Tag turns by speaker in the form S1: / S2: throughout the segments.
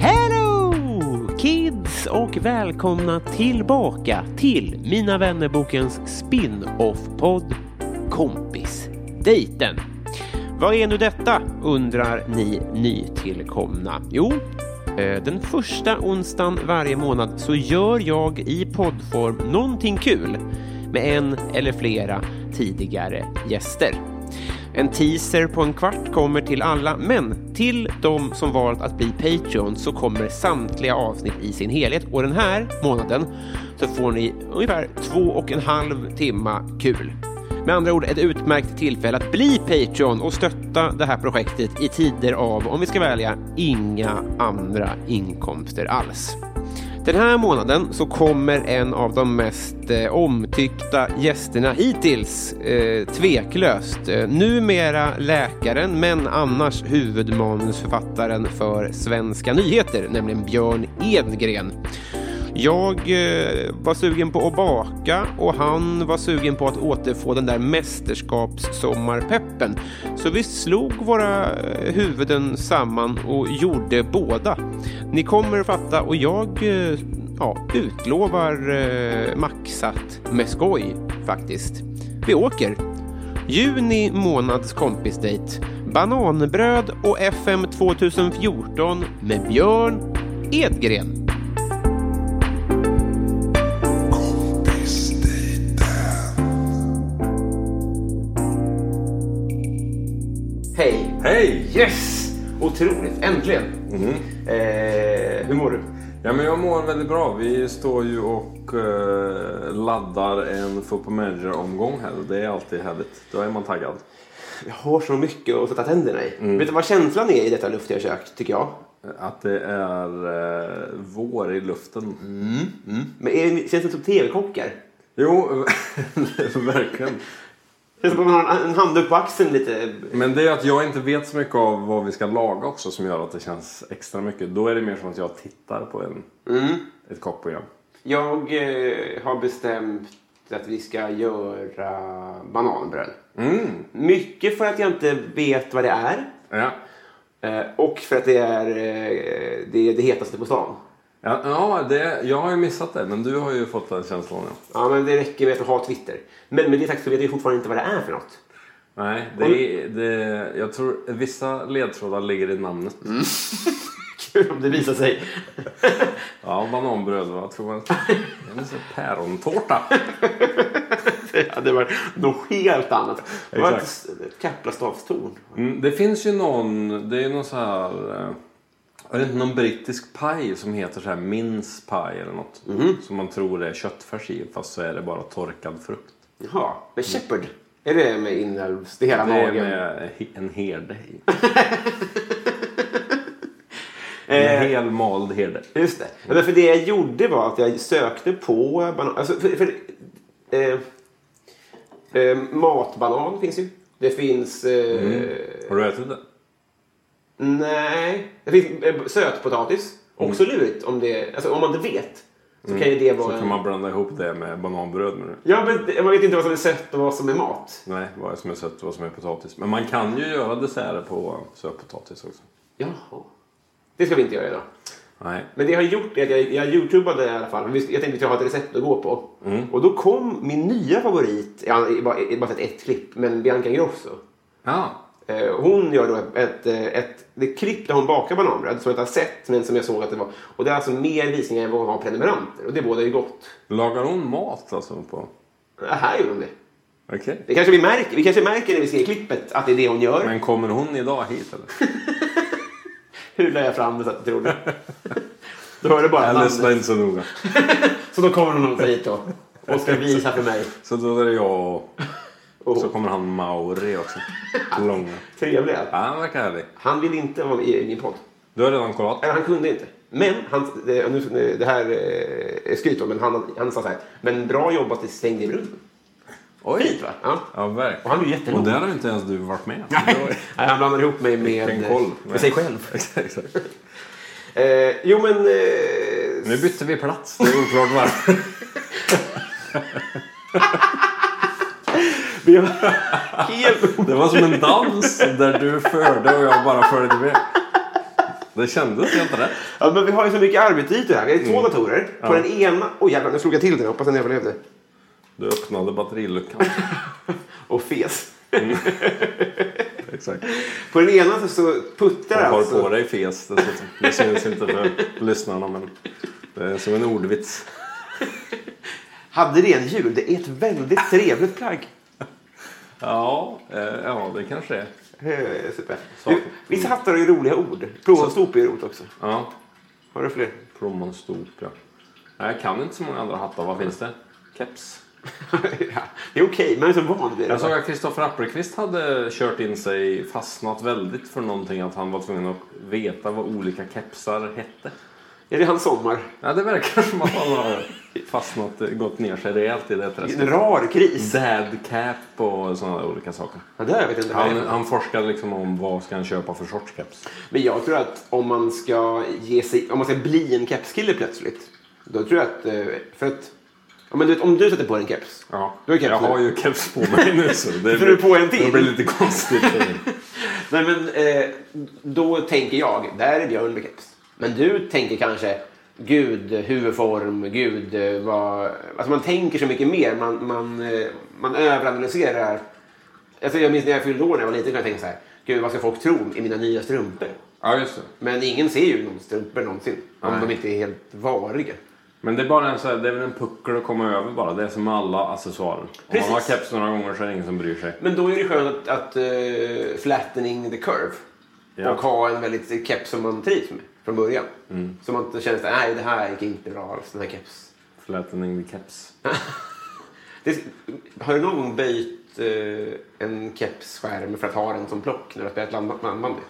S1: Hello kids och välkomna tillbaka till Mina vännerbokens spin-off-podd Kompisdejten. Vad är nu detta undrar ni nytillkomna? Jo, eh, den första onsdagen varje månad så gör jag i poddform någonting kul med en eller flera tidigare gäster. En teaser på en kvart kommer till alla, men till de som valt att bli Patreon så kommer samtliga avsnitt i sin helhet. Och den här månaden så får ni ungefär två och en halv timma kul. Med andra ord ett utmärkt tillfälle att bli Patreon och stötta det här projektet i tider av, om vi ska välja, inga andra inkomster alls. Den här månaden så kommer en av de mest eh, omtyckta gästerna hittills, eh, tveklöst. Eh, numera läkaren, men annars huvudmanusförfattaren för Svenska nyheter, nämligen Björn Edgren. Jag eh, var sugen på att baka och han var sugen på att återfå den där mästerskapssommarpeppen. Så vi slog våra eh, huvuden samman och gjorde båda. Ni kommer att fatta och jag eh, ja, utlovar eh, maxat med skoj faktiskt. Vi åker! Juni månads kompisdejt. Bananbröd och FM 2014 med Björn Edgren. Hej!
S2: Hej!
S1: Yes! Otroligt, äntligen! Eh, hur mår du?
S2: Ja, men jag mår väldigt bra. Vi står ju och eh, laddar en Football Manager-omgång här och det är alltid härligt. Då är man taggad.
S1: Jag har så mycket att sätta tänderna i. Vet du vad känslan är i detta luftiga kök, tycker jag?
S2: Eh, Att det är eh, vår i luften.
S1: Men är, känns det som tv-kockar?
S2: Jo, verkligen.
S1: Känns som att man har en, en handduk på axeln lite.
S2: Men det är att jag inte vet så mycket av vad vi ska laga också som gör att det känns extra mycket. Då är det mer som att jag tittar på en, ett kockprogram.
S1: Jag eh, har bestämt att vi ska göra bananbröd. Mycket för att jag inte vet vad det är.
S2: Ja.
S1: Eh, och för att det är eh, det, är det hetaste på stan.
S2: Ja, ja det, jag har ju missat det, men du har ju fått den känslan. Ja.
S1: Ja, men det räcker med att ha Twitter. Men med det sagt så vet jag fortfarande inte vad det är för något.
S2: Nej, det är, det, jag tror vissa ledtrådar ligger i namnet.
S1: Kul om det visar sig.
S2: Ja, bananbröd, vad tror man? Det är så pärontårta.
S1: det hade varit något helt annat. Det var ett,
S2: Exakt.
S1: ett Kaplaslavstorn.
S2: Mm, det finns ju någon, det är ju någon så här... eh, Är det inte någon brittisk paj som heter så här mince pie eller något? Som man tror är köttfärs i, fast så är det bara torkad frukt.
S1: Jaha, men Shepard. Är det med inälvs? Det är hela
S2: Det är
S1: magen?
S2: med he- en herde i. En
S1: Eh.
S2: helmald herde.
S1: Just det. Ja, men för det jag gjorde var att jag sökte på banan. Alltså, för, för, eh, eh, matbanan finns ju. Det finns... Eh,
S2: Har du ätit det?
S1: Nej. Det finns eh, sötpotatis. Också lurigt om det... Alltså om man inte vet. Så kan ju det vara...
S2: Mm. Så kan man blanda ihop det med bananbröd med det.
S1: Ja, men man vet inte vad som är sött och vad som är mat.
S2: Nej, vad som är sött och vad som är potatis. Men man kan ju göra desserter på sötpotatis också.
S1: Jaha. Det ska vi inte göra idag.
S2: Nej.
S1: Men det jag har gjort är att jag, jag youtubade i alla fall. Men visst, Jag tänkte att jag har ett recept att gå på. Och då kom min nya favorit, jag har bara, jag har bara sett ett klipp, men Bianca Ingrosso.
S2: Ja.
S1: Eh, Hon gör då ett, ett, eh, ett, det klipp där hon bakar bananbröd som jag inte har sett men som jag såg att det var. Och det är alltså mer visningar än vad hon har prenumeranter och det bådar ju gott.
S2: Lagar hon mat alltså? på?
S1: Det här gör hon det.
S2: Okej.
S1: det kanske vi, märker, vi kanske märker när vi ser klippet att det är det hon gör.
S2: Men kommer hon idag hit eller?
S1: Hur la jag fram det så att du trodde? Då hör du bara
S2: Jag lyssnar
S1: namnet.
S2: inte så noga.
S1: Så då kommer hon hit då och ska visa för mig.
S2: Så då är det jag och...
S1: Och-
S2: Så kommer han Mauri också. Långa. Ja,
S1: Trevliga.
S2: han verkar härlig.
S1: Han vill inte vara med i min podd.
S2: Du har redan kollat?
S1: Eller han kunde inte. Men han, det, nu, det här eh, är skryt då, men han, han sa så här. Men bra jobbat i stängde brunn.
S2: Oj!
S1: Fint va? Ja.
S2: Ja, verkligen.
S1: Och han är ju jätterolig.
S2: Och där har inte ens du varit med.
S1: Nej, han blandar ihop mig med... eh,
S2: Vilken koll.
S1: Med sig själv.
S2: Exakt, exakt.
S1: Eh, jo men... Eh,
S2: Nu bytte vi plats. Det är oklart varför.
S1: vi har helt...
S2: Det var som en dans där du förde och jag bara följde med. Det kändes helt rätt.
S1: Ja, men vi har ju så mycket arbetsytor här. Vi har ju
S2: Mm.
S1: två datorer. På den ena... Oj jävlar, nu slog jag till den. Jag Hoppas den överlevde.
S2: Du öppnade batteriluckan.
S1: Och fes.
S2: Exakt.
S1: På den ena så, så puttar
S2: Jag har
S1: alltså...
S2: på dig fes dessutom. Det syns inte för lyssnarna men det är som en ordvits.
S1: Hade rendjur. Det är ett väldigt trevligt plagg.
S2: Ja, eh, ja det kanske är.
S1: Eh, Super.
S2: Så.
S1: Du, vissa hattar har ju roliga ord. Plåtstop är ju roligt också.
S2: Ja,
S1: Har du fler?
S2: plommonstop ja. Nej, Jag kan inte så många andra hattar. Vad finns det? Keps.
S1: ja, det är okej, man är så van vid det.
S2: Jag såg att Kristoffer Appelqvist hade kört in sig, fastnat väldigt för någonting. Att han var tvungen att veta vad olika kepsar hette.
S1: Är det hans sommar?
S2: Ja, det verkar som att han har fastnat, gått ner sig rejält i det träsket.
S1: En rar kris.
S2: Dad cap och sådana där olika saker.
S1: Ja, det har jag vet inte.
S2: Han, han forskade liksom om vad ska han köpa för sorts keps.
S1: Men jag tror att om man ska ge sig, om man ska bli en kepskille plötsligt. Då tror jag att, eh, för att, ja, men du vet, om du sätter på dig en keps.
S2: Ja,
S1: Du har keps
S2: jag
S1: nu.
S2: har ju keps på mig nu så det
S1: Får du på en till?
S2: Det blir lite konstigt.
S1: Nej men, eh, då tänker jag, där är Björn med keps. Men du tänker kanske, gud, huvudform, gud, eh, vad... Alltså man tänker så mycket mer. Man, man, eh, man överanalyserar. Alltså jag minns när jag fyllde år när jag var liten, kunde jag tänka så här, gud vad ska folk tro i mina nya strumpor?
S2: ja, just det.
S1: Men ingen ser ju någon strumpor någonsin. Om
S2: Nej.
S1: de inte är helt variga.
S2: Men det är, bara en, så här, det är väl en puckel att komma över bara. Det är som med alla accessoarer.
S1: Precis.
S2: Om man har keps några gånger så är det ingen som bryr sig.
S1: Men då är det skönt att, att eh, flattening the curve.
S2: Ja.
S1: Och ha en väldigt keps som man trivs med från början. Så man inte känner så här, nej det här gick inte bra alls, den här keps.
S2: Flattening the keps.
S1: Det, har du någon gång böjt eh, en kepsskärm för att ha den som plock när du har spelat land- landbandy?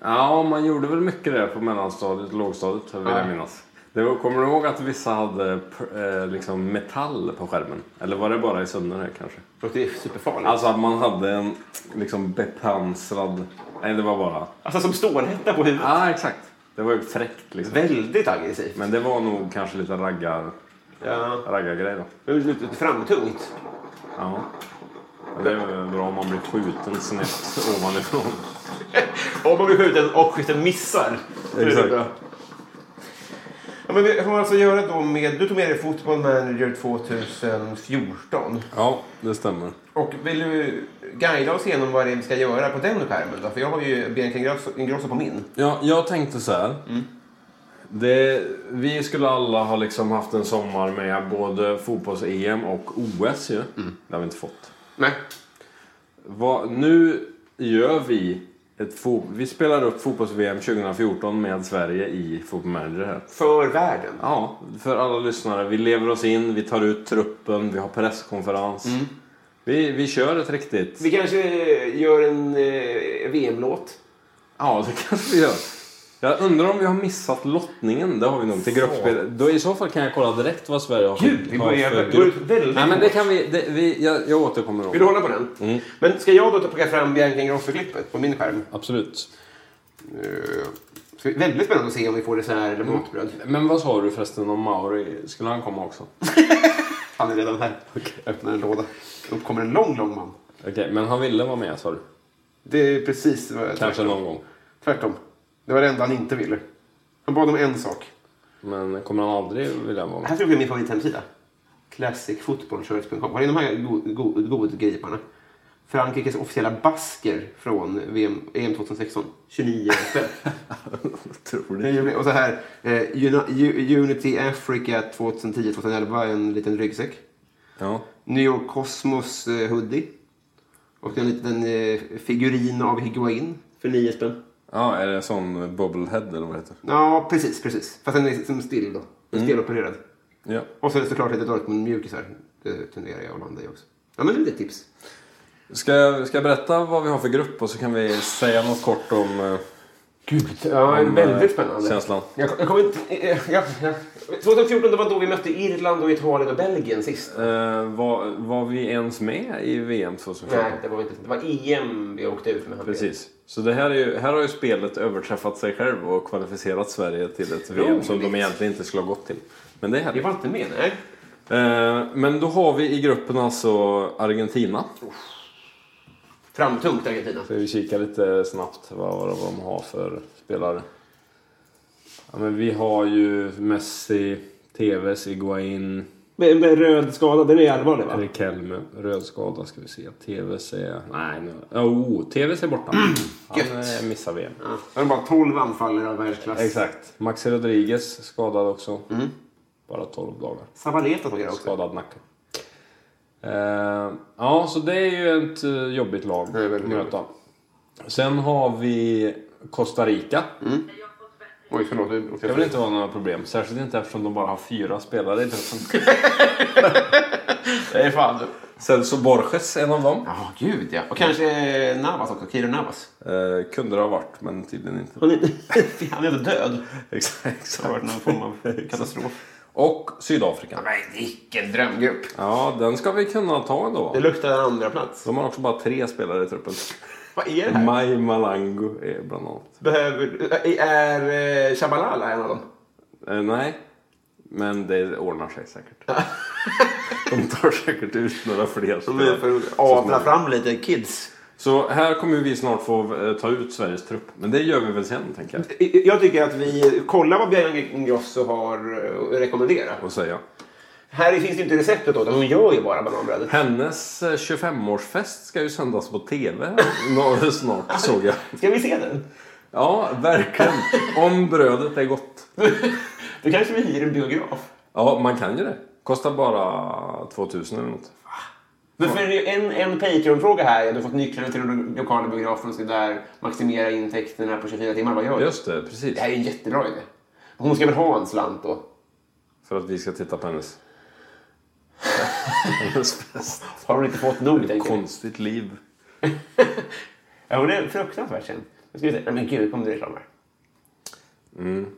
S2: Ja, man gjorde väl mycket det på mellanstadiet och lågstadiet vill
S1: Ja.
S2: jag minnas. Det var, kommer du ihåg att vissa hade pr- eh, liksom metall på skärmen? Eller var det bara i Sunne kanske?
S1: Och det är superfarligt. Alltså,
S2: Alltså att man hade en liksom bepansrad... Nej, det var bara...
S1: Alltså, som stålhätta på huvudet.
S2: Ja, ah, exakt. Det var ju fräckt liksom.
S1: Väldigt aggressivt.
S2: Men det var nog kanske lite raggar,
S1: Ja.
S2: raggargrej då.
S1: Det är lite framtungt.
S2: Ja. Men det är väl bra om man blir skjuten snett ovanifrån.
S1: Om man blir skjuten och skytten missar. då är det
S2: Exakt.
S1: bra. Ja, men vi får alltså göra då med, du tog med dig Football Manager 2014.
S2: Ja, det stämmer.
S1: Och vill du guida oss igenom vad det är vi ska göra på den skärmen? Då? För jag har ju Bianca Ingrosso, Ingrosso på min.
S2: Ja, jag tänkte så här. Det, vi skulle alla ha liksom haft en sommar med både fotbolls-EM och OS ju. Det har vi inte fått.
S1: Nej.
S2: Vad, nu gör vi ett fo- Vi spelar upp fotbolls-VM 2014 med Sverige i Football Manager här.
S1: För världen.
S2: Ja, för alla lyssnare. Vi lever oss in, vi tar ut truppen, vi har presskonferens. Vi, vi kör ett riktigt...
S1: Vi kanske gör en eh, VM-låt.
S2: Ja, det kanske vi gör. Jag undrar om vi har missat lottningen. Det har vi nog. Till gruppspel. Då I så fall kan jag kolla direkt vad Sverige har
S1: Gud, vi
S2: har
S1: börjar-
S2: för
S1: vi
S2: grupp.
S1: börjar väldigt
S2: Nej, men det
S1: hårt.
S2: kan vi... Det, vi jag, jag återkommer då.
S1: Vill du hålla på den? Men ska jag då ta plocka fram Bianca Ingrosso-klippet på min skärm?
S2: Absolut.
S1: Eh, så det är väldigt spännande att se om vi får dessert eller matbröd.
S2: Men vad sa du förresten om Mauri? Skulle han komma också?
S1: Han är redan här. Öppnar en låda. Upp kommer en lång, lång man.
S2: Okej, men han ville vara med sa du?
S1: Det är precis vad jag
S2: Kanske någon gång.
S1: Tvärtom. Det var det enda han inte ville. Han bad om en sak.
S2: Men kommer han aldrig vilja vara med?
S1: Här tror jag min favorithemsida. Classicfootballshirts.com. Har ni de här godgriparna? Go- Frankrikes officiella basker från E VM, EM 2016. 29 spänn.
S2: Otroligt.
S1: Det blev- Och så här, eh, Uni- U- Unity Africa 2010-2011, en liten ryggsäck.
S2: Ja.
S1: New York Cosmos eh, hoodie. Och en liten eh, figurin av Higuain för 9 spänn.
S2: ja, är det sån bobblehead eller vad det heter?
S1: Ja, precis, precis. Fast den är som still då. Mm. Stelopererad.
S2: Ja.
S1: Och så är det såklart lite Dortmund-mjukisar. Det tenderar jag att landa i också. Ja, men det är lite tips.
S2: Ska, jag- ska jag berätta vad vi har för grupp och så kan vi säga något kort om... eh,
S1: Gud, ja,
S2: Om,
S1: väldigt
S2: eh,
S1: spännande.
S2: känslan.
S1: Jag, jag kommer inte... eh, Ja, ja. 2014 det var då vi mötte Irland och Italien och Belgien sist.
S2: Eh, var, var vi ens med i VM 2014?
S1: Nej, det var vi inte. Det var EM vi åkte ut med. han.
S2: Precis. Så det här, är ju, här har ju spelet överträffat sig själv och kvalificerat Sverige till ett VM som de egentligen inte skulle ha gått till. Men det är
S1: Vi
S2: härligt.
S1: var inte med, nej.
S2: Eh, men då har vi i gruppen alltså Argentina.
S1: Framtungt Argentina.
S2: Ska vi kika lite snabbt vad, vad de har för spelare? Ja, men vi har ju Messi, Tevez, Iguain,
S1: Med, med röd skada, den är allvarlig va?
S2: Riquelme. Röd skada ska vi se. Tevez är... Nej, nu... Oh, Tevez är borta. Han
S1: Mm. Gött.
S2: eh, missar VM.
S1: Ja. Det är bara 12 anfallare av världsklass.
S2: Exakt. Maxi Rodriguez skadad också.
S1: Mm.
S2: Bara 12 dagar.
S1: Sabaleta tog jag också.
S2: Skadad nacke. Eh, ja, så det är ju ett eh, jobbigt lag
S1: Det är
S2: att
S1: väldigt
S2: möta. Sen har vi Costa Rica.
S1: Mm. Oj, förlåt. nu åkte jag
S2: Det vill
S1: fel.
S2: inte vara några problem. Särskilt inte eftersom de bara har fyra spelare i truppen.
S1: Det är fan.
S2: Celso Borges, en av dem.
S1: Ja, gud ja. Och kanske eh, Navas också. Kiro Navas.
S2: kunde det ha Eh, varit, men tydligen inte.
S1: Han är, han är ändå död.
S2: Exakt.
S1: Det har varit någon form av katastrof.
S2: Och Sydafrika.
S1: Nej, vilken drömgrupp.
S2: Ja, den ska vi kunna ta ändå.
S1: Det luktar en andra plats.
S2: De har också bara tre spelare i truppen.
S1: Vad är det här?
S2: Mai Malango är bland annat.
S1: Behöver, är eh, Shabalala en av dem?
S2: Eh, nej, men det ordnar sig säkert. De tar säkert ut några fler
S1: De är för
S2: spelare.
S1: att avla fram lite kids.
S2: Så här kommer vi snart få eh, ta ut Sveriges trupp. Men det gör vi väl sen, tänker jag.
S1: I- Jag tycker att vi kollar vad Bianca Ingrosso har eh, rekommenderat.
S2: Och säga.
S1: Här finns det inte receptet åt Hon gör ju bara bananbrödet.
S2: Hennes eh, 25-årsfest ska ju sändas på TV här nå- snart, såg jag.
S1: Ska vi se den?
S2: Ja, verkligen. Om brödet är gott.
S1: Då kanske vi hyr en biograf.
S2: Ja, man kan ju det. Kostar bara 2000 eller något.
S1: Men för en, en Patreon-fråga här är att du fått nycklarna till den lokala biografen och ska där maximera intäkterna på 24 timmar. Vad gör du?
S2: Just det, precis.
S1: Det här är en jättebra idé. Hon ska väl ha en slant då?
S2: För att vi ska titta på hennes... hennes fest.
S1: Har hon inte fått nog? tänker jag.
S2: Konstigt liv.
S1: Ja, hon är fruktansvärt känd. Nu ska vi se. Nej, Men gud, kom det reklam här.
S2: Mm.